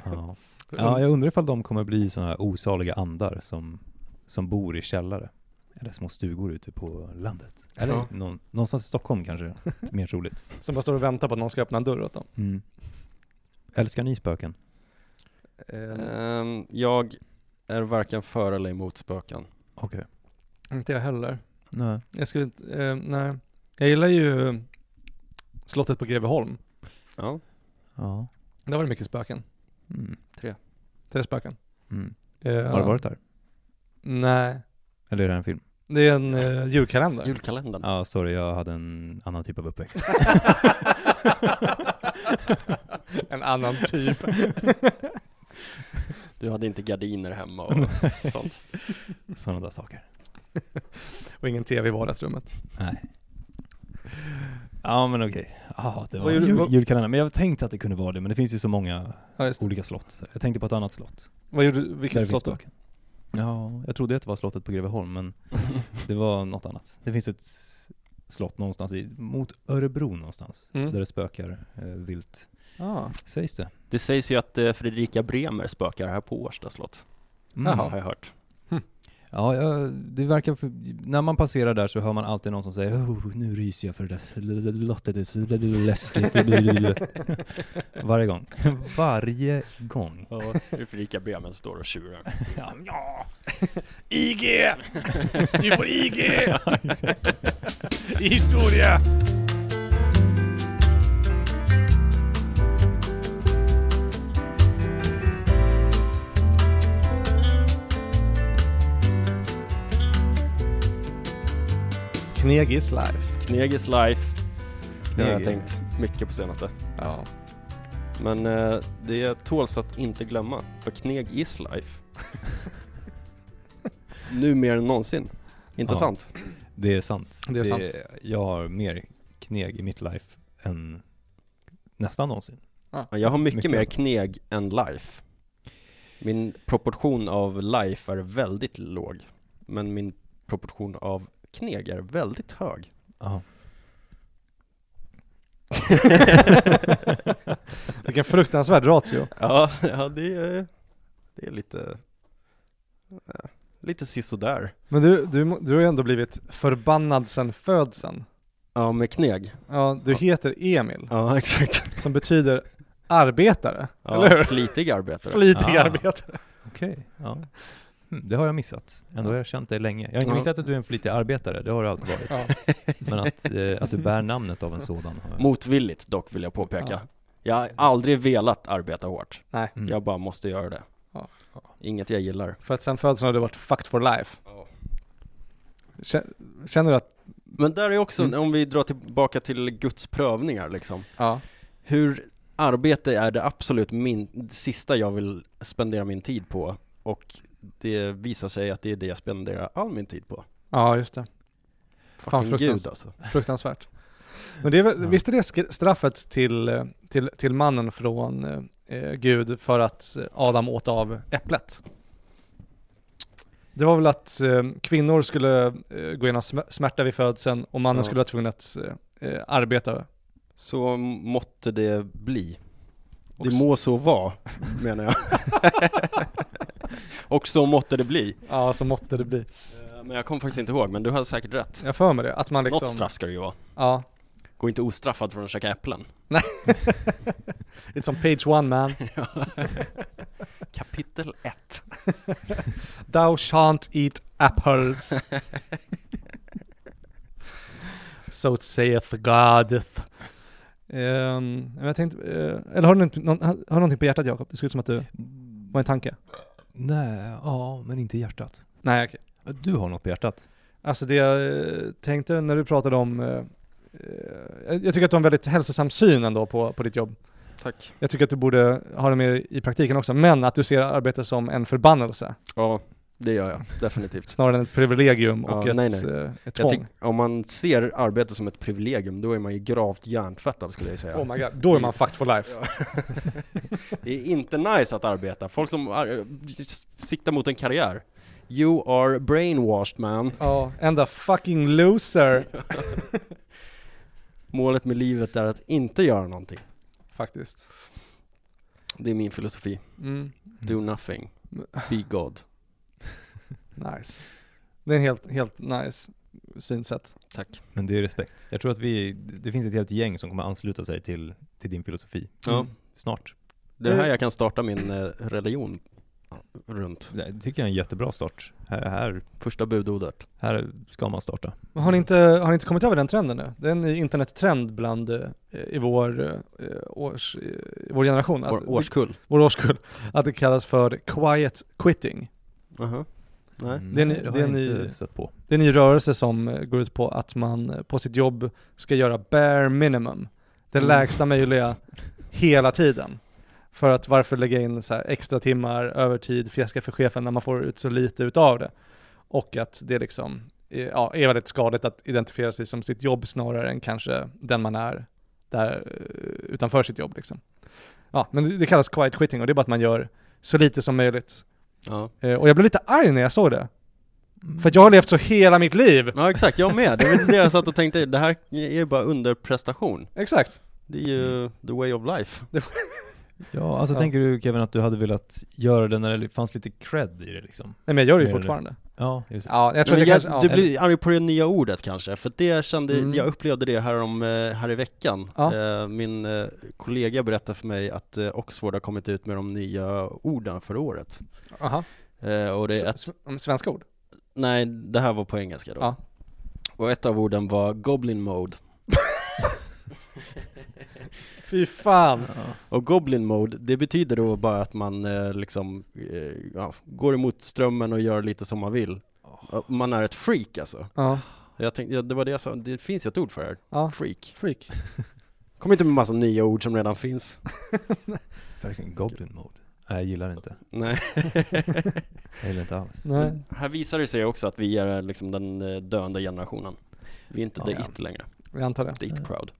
Speaker 3: Ja. ja, jag undrar ifall de kommer bli sådana här osaliga andar som, som bor i källare. Eller små stugor ute på landet. Eller
Speaker 2: Ja.
Speaker 3: någon, någonstans i Stockholm kanske, mer troligt.
Speaker 1: Som bara står och väntar på att någon ska öppna en dörr åt dem.
Speaker 3: Mm. Älskar ni spöken?
Speaker 1: Eh,
Speaker 2: Ehm, jag är varken för eller emot spöken.
Speaker 3: Okej.
Speaker 1: inte jag heller.
Speaker 3: Nej.
Speaker 1: Jag skulle inte, eh, nej. Jag gillar ju slottet på Greveholm.
Speaker 2: Ja,
Speaker 3: Ja.
Speaker 1: Där var det mycket spöken.
Speaker 3: Mm.
Speaker 1: Tre spöken.
Speaker 3: Mm.
Speaker 1: Eh,
Speaker 3: Har du varit där?
Speaker 1: Nej.
Speaker 3: Eller är det här en film?
Speaker 1: Det är en eh, julkalender.
Speaker 2: julkalendern.
Speaker 3: Ja, sorry, jag hade en annan typ av uppväxt.
Speaker 1: en annan typ.
Speaker 2: Du hade inte gardiner hemma och sånt.
Speaker 3: Sådana där saker.
Speaker 1: och ingen tv i vardagsrummet.
Speaker 3: Nej. Ja men okej. Ja, det var
Speaker 1: Vad gjorde-
Speaker 3: jul,
Speaker 1: vad-
Speaker 3: julkalender. Men jag tänkte att det kunde vara det, men det finns ju så många
Speaker 1: Ja, just det.
Speaker 3: olika slott. Så jag tänkte på ett annat slott.
Speaker 1: Mm. Vad gjorde du? Vilket
Speaker 3: det finns
Speaker 1: slott då?
Speaker 3: spöken. Ja, jag trodde att det var slottet på Greveholm, men det var något annat. Det finns ett s- slott någonstans i, mot Örebro någonstans,
Speaker 1: Mm.
Speaker 3: där det spökar eh, vilt,
Speaker 1: Ah.
Speaker 3: sägs det.
Speaker 4: Det sägs ju att eh, Fredrika Bremer spökar här på Årsta slott,
Speaker 3: Mm.
Speaker 4: Jaha. har jag hört.
Speaker 3: Ja, jag- det verkar, för, när man passerar där så hör man alltid någon som säger oh, nu ryser jag för det där lottet, det är så läskigt. Varje gång. Varje gång.
Speaker 4: Hur Fredrika Bremer står och tjurar.
Speaker 3: Ja,
Speaker 4: IG! Du får IG!
Speaker 1: I historia! Knegis life.
Speaker 4: Knegis life. Det har jag
Speaker 1: Knegis.
Speaker 4: tänkt mycket på senaste.
Speaker 1: Ja.
Speaker 2: Men eh, det tåls att inte glömma, för kneg is life. nu mer än någonsin. Intressant.
Speaker 3: det är sant.
Speaker 1: Det är sant.
Speaker 3: Jag har mer kneg i mitt life än nästan någonsin.
Speaker 2: Ja. Jag har mycket,
Speaker 3: Mycket.
Speaker 2: mer kneg än life. Min proportion av life är väldigt låg, men min proportion av kneg är väldigt hög.
Speaker 3: Ja.
Speaker 1: Vilken fruktansvärd ratio.
Speaker 2: Ja, ja det, är, det är lite, eh, lite sisådär.
Speaker 1: Men du, du, du har ju ändå blivit förbannad sedan födseln.
Speaker 2: Ja, med kneg.
Speaker 1: Ja, du heter Emil,
Speaker 2: Ja, exakt.
Speaker 1: som betyder arbetare,
Speaker 2: Ja,
Speaker 1: eller hur?
Speaker 2: Flitig arbetare.
Speaker 1: Flitig
Speaker 3: Ah.
Speaker 1: arbetare.
Speaker 3: Okej, ja. Mm, det har jag missat. Ändå har jag känt dig länge. Jag har inte
Speaker 2: Ja.
Speaker 3: missat att du är en flitig arbetare, det har du alltid varit.
Speaker 1: Ja.
Speaker 3: Men att, eh, att du bär namnet av en sådan har jag.
Speaker 4: Motvilligt dock vill jag
Speaker 1: Ja.
Speaker 4: påpeka. Jag har aldrig velat arbeta hårt.
Speaker 3: Mm.
Speaker 4: Jag bara måste göra det.
Speaker 1: Ja.
Speaker 4: Inget jag gillar.
Speaker 1: För att sen födseln har du varit fucked for life. Kä- Känner du att...
Speaker 2: Men där är också,
Speaker 1: Mm.
Speaker 2: om vi drar tillbaka till Guds prövningar liksom.
Speaker 1: Ja.
Speaker 2: Hur arbete är det absolut min, det sista jag vill spendera min tid på och det visar sig att det är det jag spenderar all min tid på.
Speaker 1: Ja, just det. Fan,
Speaker 2: Fucking gud
Speaker 1: fruktansvärt.
Speaker 2: alltså.
Speaker 1: fruktansvärt. Men det är väl,
Speaker 3: Ja.
Speaker 1: visst är det sk- straffet till, eh, till, till mannen från eh, eh, Gud för att eh, Adam åt av äpplet? Det var väl att eh, kvinnor skulle eh, gå igenom sm- smärta vid födseln och mannen
Speaker 2: Ja.
Speaker 1: skulle vara tvungen att eh, eh, arbeta.
Speaker 2: Så måtte det bli.
Speaker 1: Och
Speaker 2: Det
Speaker 1: s-
Speaker 2: må så vara, menar jag. och så måtte det bli.
Speaker 1: Ja, så måtte det bli.
Speaker 4: Eh, Men jag kommer faktiskt inte ihåg, men du hade säkert rätt.
Speaker 1: Jag för mig det, att man liksom...
Speaker 4: Något straff ska det ju vara.
Speaker 1: Ja.
Speaker 4: Gå inte ostraffad från att käka äpplen.
Speaker 1: It's som page one man.
Speaker 4: Kapitel 1.
Speaker 1: Thou shan't eat apples. so saith God. Um, jag tänkte, eh, eller har du något- någon, har du någonting på hjärtat Jakob? Det ser ut som att du var en tanke.
Speaker 3: Nej, ja, men inte i hjärtat.
Speaker 1: Nej, okej.
Speaker 3: Du har något på hjärtat.
Speaker 1: Alltså det jag eh, tänkte när du pratade om eh, eh, jag tycker att du har en väldigt hälsosam syn ändå på, på ditt jobb.
Speaker 2: Tack.
Speaker 1: Jag tycker att du borde ha det mer i praktiken också, men att du ser arbete som en förbannelse
Speaker 2: Ja, det gör jag. Definitivt.
Speaker 1: snarare än ett privilegium och
Speaker 2: Ja,
Speaker 1: ett,
Speaker 2: nej, nej.
Speaker 1: eh, ett
Speaker 2: Jag
Speaker 1: tvång.
Speaker 2: tyck, om man ser arbete som ett privilegium, då är man ju gravt hjärntvättad skulle jag säga.
Speaker 1: Oh my god, då är man fucked for life.
Speaker 2: Det är inte nice att arbeta. Folk som ar- s- siktar mot en karriär. You are brainwashed man.
Speaker 1: Ja, enda fucking loser
Speaker 2: Målet med livet är att inte göra någonting.
Speaker 1: faktiskt.
Speaker 2: Det är min filosofi.
Speaker 1: Mm.
Speaker 2: Do nothing. Be God.
Speaker 1: Nice. Det är en helt, helt nice synsätt.
Speaker 2: Tack.
Speaker 3: Men det är respekt. Jag tror att vi, det finns ett helt gäng som kommer ansluta sig till, till din filosofi.
Speaker 1: Mm.
Speaker 2: Ja.
Speaker 3: Snart.
Speaker 2: Det är här jag kan starta min eh, religion runt.
Speaker 3: Det tycker jag är en jättebra start. Här, här,
Speaker 2: Första budordet.
Speaker 3: här ska man starta.
Speaker 1: Men har ni, inte, har ni inte kommit över den trenden nu? Det är en ny internettrend bland eh, i vår, eh, års, eh, i vår generation, att,
Speaker 2: Vår årskull.
Speaker 1: vår årskull, att det kallas för quiet quitting.
Speaker 2: Aha. Nej.
Speaker 3: Mm,
Speaker 1: Det är ni-
Speaker 3: det har
Speaker 1: det är
Speaker 3: jag
Speaker 1: ni-
Speaker 3: inte sett på.
Speaker 1: Det är en ny rörelse som eh, går ut på att man eh, på sitt jobb ska göra bare minimum, det
Speaker 2: Mm.
Speaker 1: lägsta möjliga hela tiden. För att varför lägga in så här extra timmar, övertid, fjäska för chefen när man får ut så lite utav det? Och att det liksom eh, ja, är väldigt skadligt att identifiera sig som sitt jobb snarare än kanske den man är där eh, utanför sitt jobb liksom. Ja, men det- det kallas quiet quitting och det är bara att man gör så lite som möjligt.
Speaker 2: Ja.
Speaker 1: Eh, Och jag blev lite arg när jag såg det.
Speaker 3: Mm.
Speaker 1: För att jag har levt så hela mitt liv.
Speaker 2: ja, exakt, jag med. Det var lite det jag satt och tänkte, det här är ju bara underprestation.
Speaker 1: Exakt.
Speaker 2: Det
Speaker 1: Mm.
Speaker 2: är ju the way of life.
Speaker 3: Ja, alltså
Speaker 1: Ja.
Speaker 3: tänker du Kevin att du hade velat göra det när det fanns lite cred i det liksom?
Speaker 1: Nej men jag gör det ju
Speaker 3: Mer eller-
Speaker 1: fortfarande.
Speaker 3: Ja, just det.
Speaker 1: Ja, jag tror
Speaker 2: Men
Speaker 1: det
Speaker 2: jag,
Speaker 1: kanske... Ja.
Speaker 2: du blir arg på det nya ordet kanske, för det kände,
Speaker 1: Mm.
Speaker 2: jag upplevde det här, om, eh, här i veckan.
Speaker 1: Ja.
Speaker 2: Eh, Min eh, kollega berättade för mig att eh, Oxford har kommit ut med de nya orden för året.
Speaker 1: Aha.
Speaker 2: Eh, Och det är ett,
Speaker 1: S- s- Svenska ord?
Speaker 2: nej, det här var på engelska då.
Speaker 1: Ja.
Speaker 2: Och ett av orden var Goblin Mode.
Speaker 1: Fy fan.
Speaker 2: Och Goblin Mode, det betyder då bara att man eh, liksom eh, ja, går emot strömmen och gör lite som man vill.
Speaker 3: Oh.
Speaker 2: Och Man är ett freak alltså.
Speaker 1: Ja.
Speaker 2: Jag tänkte, ja, det var det jag sa, det finns ju ett ord för det här.
Speaker 1: ja.
Speaker 2: Freak.
Speaker 1: Freak.
Speaker 2: Kom inte med massa nya ord som redan finns.
Speaker 3: Verkligen goblin mode. Nej, jag gillar det inte.
Speaker 2: Nej.
Speaker 3: Jag gillar det inte alls.
Speaker 1: Nej.
Speaker 4: Här visar det sig också att vi är liksom den eh, döende generationen. Vi är inte
Speaker 3: Ja,
Speaker 4: the
Speaker 3: ja.
Speaker 4: it längre,
Speaker 1: Jag antar det.
Speaker 4: the it crowd.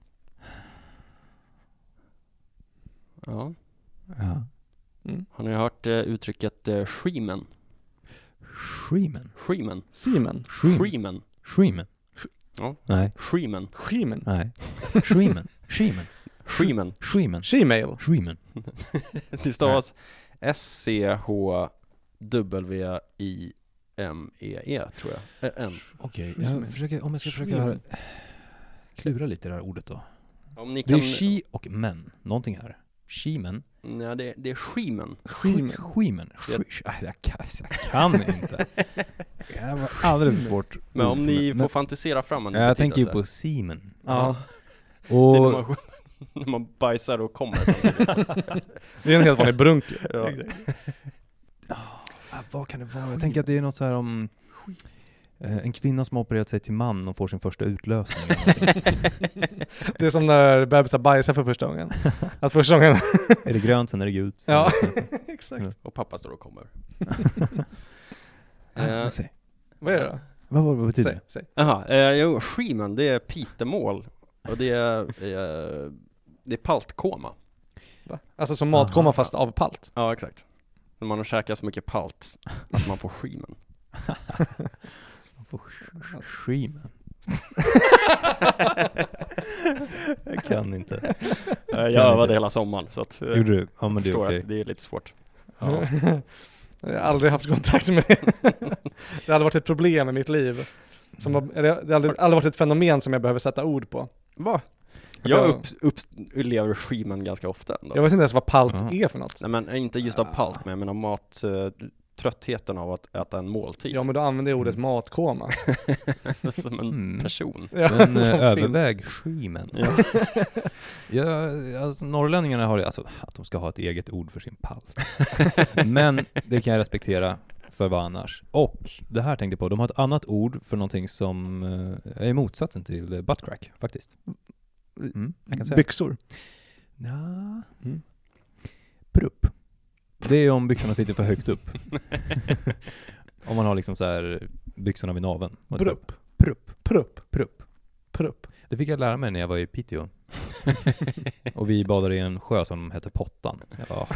Speaker 4: Ja,
Speaker 3: Ja.
Speaker 1: Mm.
Speaker 4: har ni hört eh, uttrycket eh, shreemen?
Speaker 3: Shreeman.
Speaker 4: Shreemen?
Speaker 1: Siemen.
Speaker 4: Shreemen?
Speaker 3: Shreeman.
Speaker 4: Ja.
Speaker 3: Nej,
Speaker 4: Shreemen?
Speaker 1: Schemen.
Speaker 3: nej. Shreeman. Shreeman.
Speaker 4: Shreeman?
Speaker 3: Shreeman.
Speaker 1: Shemale.
Speaker 3: Shreeman.
Speaker 2: Det stavas S-C-H-W-I-M-E-E E tror jag. Eh, N.
Speaker 3: Okej,
Speaker 1: Shreeman.
Speaker 3: jag försöker, om jag ska försöka
Speaker 1: Shreeman.
Speaker 3: klura lite i det här ordet då.
Speaker 4: Om ni
Speaker 3: Det är
Speaker 4: kan...
Speaker 3: she och men, någonting här. She-men.
Speaker 4: Nej, det, det är shreemen.
Speaker 1: Schemen.
Speaker 3: She-men.
Speaker 2: Jag-
Speaker 3: She- Nej, Jag kan- jag kan inte. Det här var alldeles för svårt.
Speaker 2: Men
Speaker 3: ord
Speaker 2: om
Speaker 3: för
Speaker 2: ni
Speaker 3: mig.
Speaker 2: får fantisera fram en
Speaker 3: Men, jag
Speaker 2: petita
Speaker 3: tänker ju
Speaker 2: så
Speaker 3: på semen.
Speaker 1: Ja.
Speaker 2: här. Det är när
Speaker 3: Och
Speaker 2: man, när man bajsar och kommer samtidigt.
Speaker 1: Det är en helt vanlig brunk.
Speaker 2: Ja.
Speaker 3: Ah, vad kan det vara? Jag tänker att det är något så här om eh, en kvinna som har opererat sig till man och får sin första utlösning. eller någonting.
Speaker 1: Det är som när bebisar bajsar för första gången. Att första gången...
Speaker 3: är det grönt, sen är det gult. sen
Speaker 1: Ja.
Speaker 3: är det-
Speaker 1: Exakt.
Speaker 2: Och pappa står och kommer.
Speaker 3: Nej,
Speaker 4: Eh,
Speaker 3: men säg.
Speaker 1: Vad är det då?
Speaker 3: Vad, vad, vad betyder
Speaker 1: Säg, säg.
Speaker 2: Jaha, eh, jo, skimen, det är pitemål. Och det är, eh, det är paltkoma.
Speaker 1: Va? Alltså som matkoma
Speaker 3: Aha.
Speaker 1: fast av palt.
Speaker 2: Ja, exakt. När man har käkat så mycket palt att man får skimen.
Speaker 3: det? Shreeman. jag kan inte.
Speaker 2: Eh, Jag övade hela sommaren så att, eh,
Speaker 3: Gjorde du? Ja men det är
Speaker 2: förstår
Speaker 3: okej.
Speaker 2: att det är lite svårt.
Speaker 3: Ja.
Speaker 1: Jag har aldrig haft kontakt med det. Det hade varit ett problem i mitt liv. Som, var- eller det hade aldrig varit ett fenomen som jag behöver sätta ord på.
Speaker 2: Va?
Speaker 1: Att
Speaker 2: Jag
Speaker 1: jag-
Speaker 2: upp, upp, upplever skimen ganska ofta ändå.
Speaker 1: Jag vet inte ens vad palt
Speaker 3: Ja.
Speaker 1: är för något.
Speaker 2: Nej men inte just av palt, men jag menar mat, eh, tröttheten av att äta en måltid.
Speaker 1: Ja men då använder jag ordet matkoma.
Speaker 2: Som en
Speaker 3: Mm.
Speaker 2: person.
Speaker 1: Ja,
Speaker 3: Men eh,
Speaker 1: som
Speaker 3: överväg Sheeman.
Speaker 2: Ja.
Speaker 3: Ja, alltså, norrlänningarna har det, alltså att de ska ha ett eget ord för sin pall. Men det kan jag respektera för vad annars. Och det här tänkte jag på, de har ett annat ord för någonting som eh, är motsatsen till eh, butt crack faktiskt. Mm, jag kan
Speaker 1: finns.
Speaker 3: säga.
Speaker 1: Byxor.
Speaker 3: Nja.
Speaker 1: Mm.
Speaker 3: Prupp. Det är om byxorna sitter för högt upp. om man har liksom så här byxorna vid naveln. Vad är det?
Speaker 1: Brupp.
Speaker 3: Prupp.
Speaker 1: Prupp.
Speaker 3: Prupp.
Speaker 1: Prupp.
Speaker 3: Det fick jag lära mig när jag var i Piteå. och vi badade i en sjö som hette Pottan. Jag bara,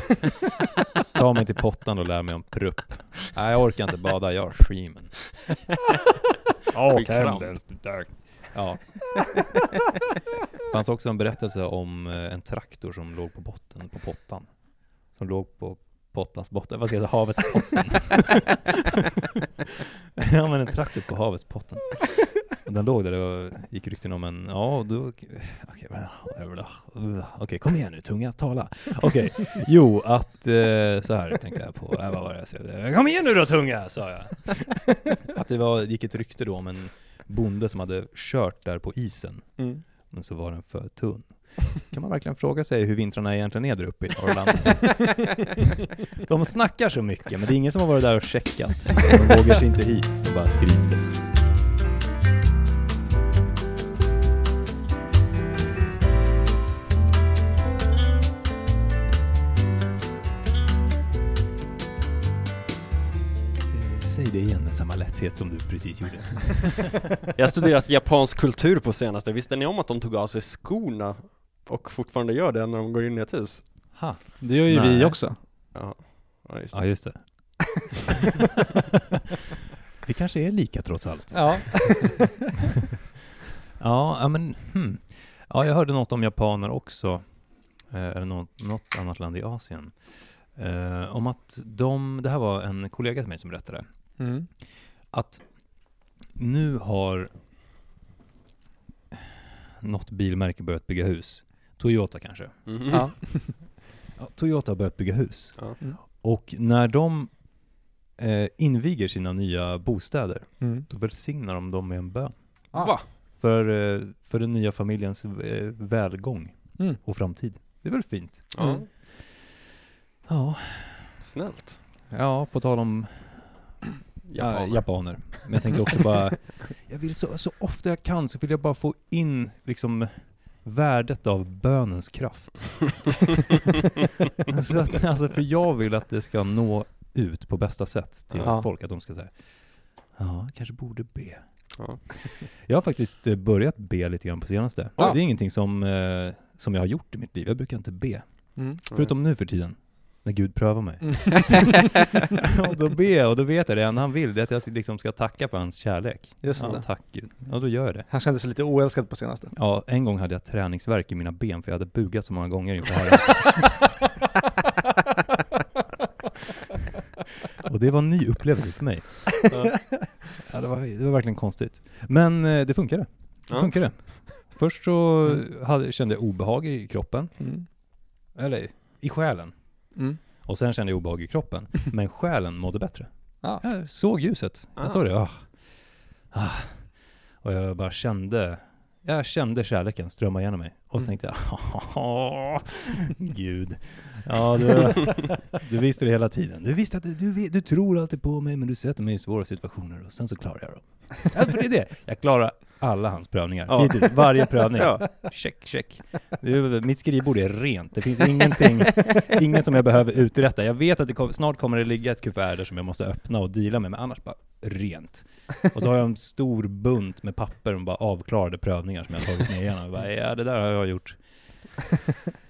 Speaker 3: ta mig till Pottan och lär mig om prupp. Nej, jag orkar inte bada, jag har schemen.
Speaker 2: Fick kramp.
Speaker 3: Ja. Det fanns också en berättelse om eh, en traktor som låg på botten på Pottan. Som låg på Pottans botten, vad ska jag säga, havets botten. ja men en traktor på havets botten. Och Den låg där och gick rykten om en, ja då, okej, okej kom igen nu tunga, tala. Okej, jo att, eh, så här tänkte jag på, äh, vad var det jag sa? Kom igen nu då tunga, sa jag. Att det var, gick ett rykte då om en bonde som hade kört där på isen,
Speaker 1: Mm.
Speaker 3: men så var den för tunn. Kan man verkligen fråga sig hur vintrarna egentligen är där uppe i Norrland? De snackar så mycket, men det är ingen som har varit där och checkat. De vågar sig inte hit, de bara skryter. Eh, Säg det igen med samma lätthet som du precis gjorde.
Speaker 2: Jag har studerat japansk kultur på senaste, visste ni om att de tog av sig skorna och fortfarande gör det när de går in i ett hus?
Speaker 3: Ha.
Speaker 1: Det gör ju vi
Speaker 3: Nej.
Speaker 1: också.
Speaker 2: Ja, ja just det.
Speaker 3: Ja, just det. Vi kanske är lika trots allt.
Speaker 1: Ja.
Speaker 3: Ja, ja, men hmm. Ja, jag hörde något om japaner också. Eh, eller något, något annat land i Asien. Eh, om att de, det här var en kollega till mig som berättade.
Speaker 1: Mm.
Speaker 3: att nu har något bilmärke börjat bygga hus. Toyota kanske.
Speaker 2: Mhm.
Speaker 1: Ja.
Speaker 3: Ja, Toyota har börjat bygga hus.
Speaker 2: Ja.
Speaker 1: Mm.
Speaker 3: Och när de eh, inviger sina nya bostäder,
Speaker 1: Mm.
Speaker 3: då välsignar de dem med en bön.
Speaker 1: Ah.
Speaker 2: Va?
Speaker 3: För, eh, för den nya familjens eh, välgång
Speaker 1: Mm.
Speaker 3: och framtid. Det är väl fint?
Speaker 2: Ja,
Speaker 1: Mm.
Speaker 3: Ja,
Speaker 2: snällt.
Speaker 3: ja på tal om
Speaker 2: Japaner.
Speaker 3: Ja, japaner. Men jag tänkte också bara, jag vill så, så ofta jag kan så vill jag bara få in liksom värdet av bönens kraft. så att, alltså, för jag vill att det ska nå ut på bästa sätt till
Speaker 1: Ja.
Speaker 3: folk, att de ska säga Ja, kanske borde be.
Speaker 2: Ja.
Speaker 3: Jag har faktiskt eh, börjat be lite grann på senaste.
Speaker 1: Ja.
Speaker 3: Det är ingenting som, eh, som jag har gjort i mitt liv. Jag brukar inte be.
Speaker 1: Mm.
Speaker 3: Förutom nu för tiden, när Gud prövar mig. och då ber jag, och då vet jag det enda han vill, det är att jag liksom ska tacka för hans kärlek.
Speaker 1: Just
Speaker 3: Ja,
Speaker 1: det.
Speaker 3: tack Gud. Ja, då gör jag det.
Speaker 1: Han kände sig lite oälskad på senaste.
Speaker 3: Ja, en gång hade jag träningsvärk i mina ben för jag hade bugat så många gånger inför Herren. och det var en ny upplevelse för mig. Ja, det, var, det var verkligen konstigt. Men eh, det funkade. Det
Speaker 2: Ja.
Speaker 3: funkade. Först så hade, kände jag obehag i kroppen,
Speaker 1: Mm.
Speaker 3: eller i själen.
Speaker 1: Mm.
Speaker 3: Och sen kände jag obehag i kroppen, men själen mådde bättre.
Speaker 1: Ja.
Speaker 3: Jag såg ljuset.
Speaker 2: Ah.
Speaker 3: Jag såg det. Ah. Ah. Och jag bara kände, jag kände kärleken strömma igenom mig. Och så
Speaker 1: Mm.
Speaker 3: tänkte jag, "Åh, gud. Ja, du, du visste det hela tiden. Du visste att du, du, vet- du tror alltid på mig, men du sätter mig i svåra situationer och sen så klarar jag dem. Ja, för det är det. Jag klarar alla hans prövningar.
Speaker 2: Ja.
Speaker 3: Hittills, varje prövning.
Speaker 2: Ja.
Speaker 3: Check, check. Det är- Mitt skrivbord är rent. Det finns ingenting, ingen som jag behöver uträtta. Jag vet att det kom, snart kommer det ligga ett kuvert där som jag måste öppna och deala med, men annars bara rent. Och så har jag en stor bunt med papper och bara avklarade prövningar som jag har tagit ner igenom. Jag bara, ja, det där har jag gjort.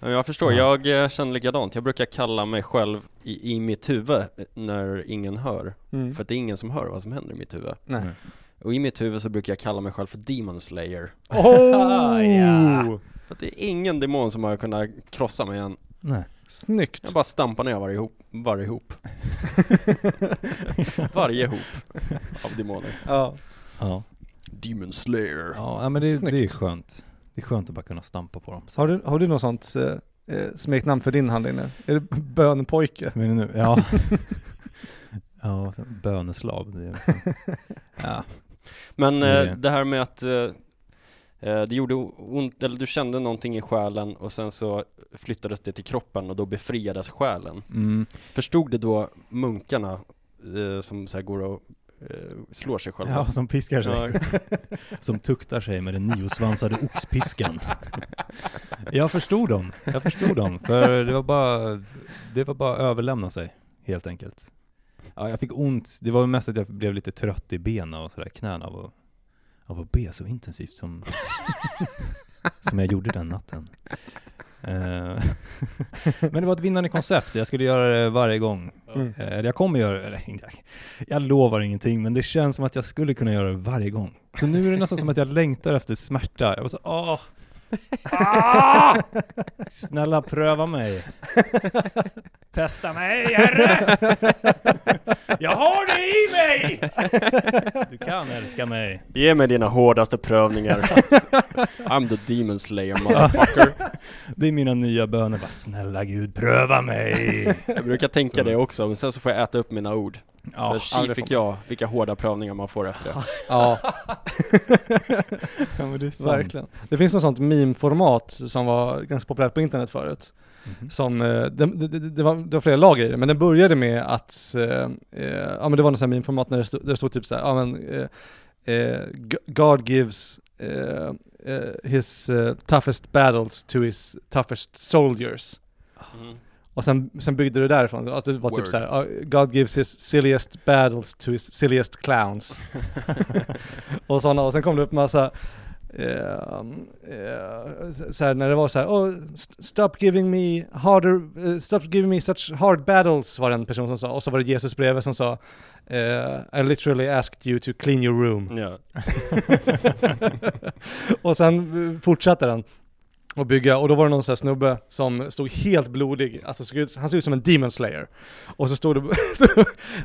Speaker 2: Ja, Jag förstår,
Speaker 3: Ja.
Speaker 2: jag eh, känner likadant. Jag brukar kalla mig själv i, i mitt huvud eh, när ingen hör.
Speaker 1: Mm.
Speaker 2: För att det är ingen som hör vad som händer i mitt huvud.
Speaker 3: Mm.
Speaker 1: Nej.
Speaker 2: Och i mitt huvud så brukar jag kalla mig själv för Demon Slayer.
Speaker 1: Oh!
Speaker 3: Ja.
Speaker 2: För att det är ingen demon som har kunnat krossa mig än.
Speaker 3: Nej.
Speaker 1: Snyggt.
Speaker 2: Jag bara stampar ner varje hop, varje hop. varje hop av demoner.
Speaker 1: Ja.
Speaker 3: Ja,
Speaker 2: Demon Slayer.
Speaker 3: ja men det, det är
Speaker 1: Snyggt.
Speaker 3: skönt. Det är skönt att bara kunna stampa på dem.
Speaker 1: Har, du, har du något sånt eh, eh, smeknamn för din hand inne? Är det bönpojke?
Speaker 3: Men nu, ja. ja, så böneslav. Det är, ja.
Speaker 2: Men
Speaker 3: Det-
Speaker 2: eh, det här med att eh, eh, det gjorde o- ont, eller du kände någonting i själen och sen så flyttades det till kroppen och då befriades själen.
Speaker 3: Mm.
Speaker 2: Förstod det då munkarna eh, som så här går och eh, slår sig själva?
Speaker 3: ja, som piskar sig.
Speaker 2: Ja.
Speaker 3: Som tuktar sig med den niosvansade oxpiskan. Jag förstod dem. Jag förstod dem. För det var bara, det var bara att överlämna sig, helt enkelt. Ja, jag fick ont. Det var mest att jag blev lite trött i benen och sådär, knäna av att, av att be så intensivt som, som jag gjorde den natten. Eh, Men det var ett vinnande koncept. Jag skulle göra det varje gång.
Speaker 1: Mm.
Speaker 3: Eh, Eller jag kommer göra eller, inte- Jag lovar ingenting, men det känns som att jag skulle kunna göra det varje gång. Så nu är det nästan som att jag längtar efter smärta. Jag var så åh! Ah! Snälla pröva mig. Testa mig, herre! Jag har det i mig! Du kan älska mig.
Speaker 2: Ge mig dina hårdaste prövningar. I'm the demon slayer motherfucker.
Speaker 3: Det är mina nya böner. Bara, snälla Gud, pröva mig!
Speaker 2: Jag brukar tänka det också, men sen så får jag äta upp mina ord.
Speaker 3: Ja,
Speaker 2: För tji fick jag vilka hårda prövningar man får efter det.
Speaker 1: Ja,
Speaker 3: men det är
Speaker 1: verkligen. Det finns något sånt meme-format som var ganska populärt på internet förut.
Speaker 3: Mhm.
Speaker 1: Som, eh, det, det, det, det, var, det var flera lager i det, men den började med att, eh, eh, ja men det var något sånt här meme-format när det stod, där det stod typ så här, ja men eh, eh, G- God gives eh, eh, his eh, toughest battles to his toughest soldiers.
Speaker 2: Mm.
Speaker 1: Och sen, sen byggde du därifrån, att du var typ
Speaker 2: Word.
Speaker 1: såhär, "Uh, God gives his silliest battles to his silliest clowns. och sådana, och sen kom det upp massa, eh, eh, så- såhär när det var såhär, oh, st- stop giving me harder, eh, stop giving me such hard battles var det en person som sa, och så var det Jesus bredvid som sa, eh, I literally asked you to clean your room.
Speaker 4: Ja.
Speaker 1: och sen eh, fortsatte den och bygga och då var det någon sån här snubbe som stod helt blodig, alltså såg ut, han såg ut som en demon slayer. Och så stod det, stod,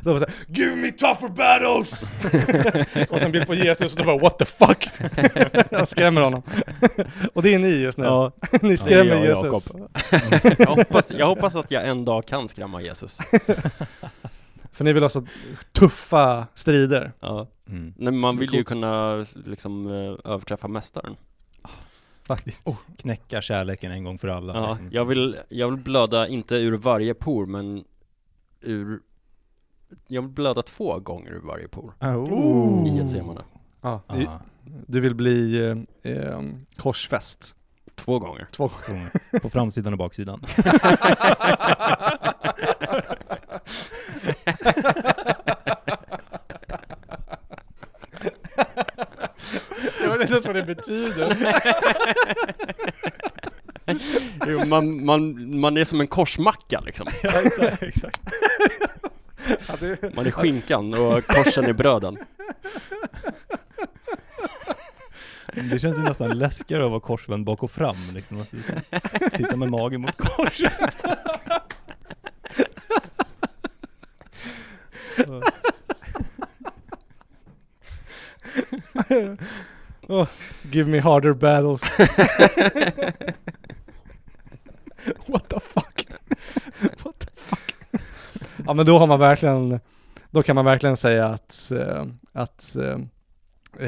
Speaker 1: det var så här, Give me tougher battles! och sen bild på Jesus och då bara what the fuck? jag skrämmer honom. och det är ni just nu.
Speaker 3: Ja.
Speaker 1: ni skrämmer
Speaker 2: jag och
Speaker 1: Jesus.
Speaker 2: Jag hoppas, jag hoppas att jag en dag kan skrämma Jesus.
Speaker 1: För ni vill ha så tuffa strider.
Speaker 2: Ja.
Speaker 3: Mm.
Speaker 4: Nej, men man
Speaker 1: Det är
Speaker 4: vill ju
Speaker 1: coolt.
Speaker 4: kunna liksom eh, överträffa mästaren.
Speaker 3: Faktiskt. Knäcka kärleken en gång för alla.
Speaker 4: Ja,
Speaker 3: liksom.
Speaker 4: jag, vill, jag vill blöda, inte ur varje por, men ur...
Speaker 2: Jag vill blöda två gånger ur varje por
Speaker 3: Ah,
Speaker 1: Ooh.
Speaker 2: i Getsemane.
Speaker 1: Ja, du,
Speaker 3: Ah,
Speaker 1: du vill bli eh, eh, korsfäst.
Speaker 4: Två gånger.
Speaker 1: Två
Speaker 3: kung. På framsidan och baksidan.
Speaker 1: Jag vet inte ens vad det betyder.
Speaker 4: Jo, man, man, man är som en korsmacka liksom.
Speaker 3: ja, exakt, exakt.
Speaker 4: Man är skinkan och korsen är bröden.
Speaker 3: Det känns ju nästan läskigare att vara korsvänd bak och fram. Liksom. Att liksom sitta med magen mot korset.
Speaker 1: oh, give me harder battles. What the fuck? What the fuck? ja men då har man verkligen, då kan man verkligen säga att, eh, att eh,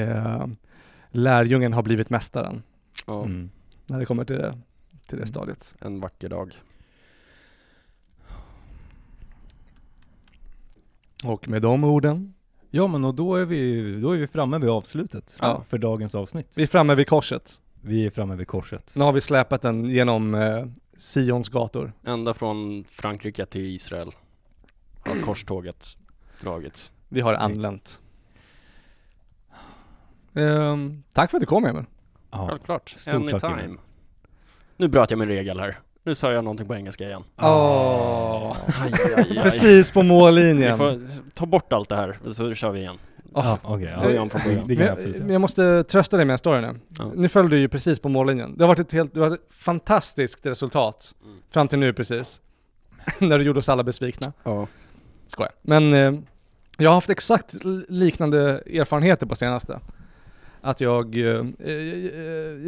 Speaker 1: eh, lärjungen har blivit mästaren
Speaker 2: Ja,
Speaker 3: Mm.
Speaker 1: när det kommer till det, till det stadiet.
Speaker 2: en vacker dag.
Speaker 1: Och med de orden,
Speaker 3: Ja men och då är vi, då är vi framme vid avslutet
Speaker 1: Ja.
Speaker 3: för dagens avsnitt.
Speaker 1: vi är framme vid korset.
Speaker 3: Vi är framme vid korset.
Speaker 1: Nu har vi släpat den genom eh, Sions gator.
Speaker 4: Ända från Frankrike till Israel har korståget dragits.
Speaker 1: Vi har anlänt. Ehm, tack för att du kom Emil.
Speaker 3: Ja.
Speaker 4: Självklart.
Speaker 3: Stort
Speaker 4: Anytime.
Speaker 3: tack, Emil.
Speaker 4: Nu bröt jag min regel här. Nu sa jag någonting på engelska igen.
Speaker 1: Åh.
Speaker 4: Aj, aj, aj, aj.
Speaker 1: Precis på
Speaker 4: Vi
Speaker 1: mållinjen.
Speaker 4: får ta bort allt det här, så kör vi igen.
Speaker 1: Åh.
Speaker 3: Ja, okej.
Speaker 4: Vi
Speaker 3: ja.
Speaker 4: Början från början.
Speaker 3: Det
Speaker 1: Men
Speaker 3: kan jag
Speaker 1: jag,
Speaker 3: absolut
Speaker 1: men
Speaker 3: göra.
Speaker 1: jag måste trösta dig med en story nu.
Speaker 4: Ja.
Speaker 1: Nu föll du ju precis på mållinjen. Det har varit ett helt det har varit ett fantastiskt resultat
Speaker 4: Mm.
Speaker 1: fram till nu precis. När du gjorde oss alla besvikna.
Speaker 2: Ja.
Speaker 1: Skoja. Men eh, jag har haft exakt l- liknande erfarenheter på senaste. Att jag, eh, eh,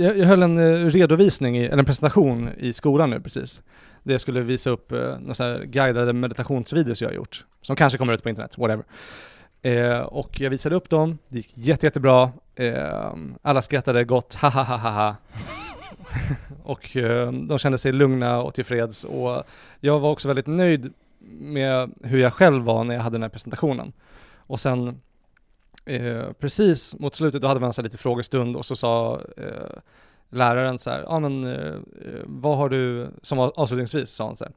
Speaker 1: jag, jag höll en eh, redovisning, i, eller en presentation i skolan nu precis. Där jag skulle visa upp eh, några så här guidade meditationsvideos jag har gjort. Som kanske kommer ut på internet, whatever. Eh, och jag visade upp dem, det gick jätte, jättebra. Eh, alla skrattade gott, ha ha ha ha ha. och eh, de kände sig lugna och tillfreds. Och jag var också väldigt nöjd med hur jag själv var när jag hade den här presentationen. Och sen eh, precis mot slutet, då hade vi en så här lite frågestund och så sa eh, läraren så här, ja ah, men eh, eh, vad har du, som av- avslutningsvis sa han så här,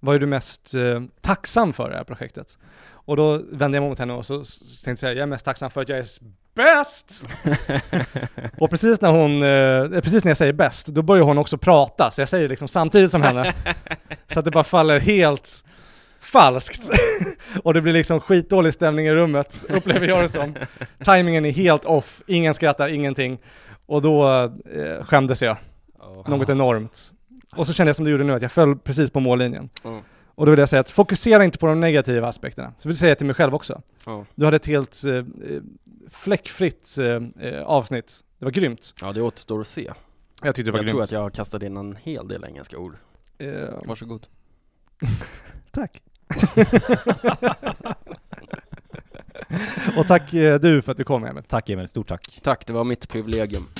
Speaker 1: vad är du mest eh, tacksam för i det här projektet? Och då vände jag mig mot henne och så, så tänkte jag säga, jag är mest tacksam för att jag är s- bäst! och precis när hon, eh, precis när jag säger bäst, då börjar hon också prata, så jag säger det liksom samtidigt som henne. så att det bara faller helt falskt. och det blir liksom skitdålig stämning i rummet, upplever jag det som. Timingen är helt off, ingen skrattar, ingenting. Och då eh, skämdes jag, något enormt. Och så kände jag som du gjorde nu, att jag föll precis på mållinjen.
Speaker 4: Mm.
Speaker 1: Och då vill jag säga att fokusera inte på de negativa aspekterna. Så vill jag säga till mig själv också.
Speaker 4: Ja.
Speaker 1: Du hade ett helt eh, eh, fläckfritt eh, eh, avsnitt. Det var grymt.
Speaker 4: Ja, det återstår att se.
Speaker 1: Jag tyckte det var
Speaker 4: Jag tror
Speaker 1: grymt.
Speaker 4: att jag kastade in en hel del engelska ord.
Speaker 1: Eh,
Speaker 4: Varsågod.
Speaker 1: Tack. och tack eh, du för att du kom Emil. eh,
Speaker 3: Tack Emil, stort tack.
Speaker 4: Tack, det var mitt privilegium.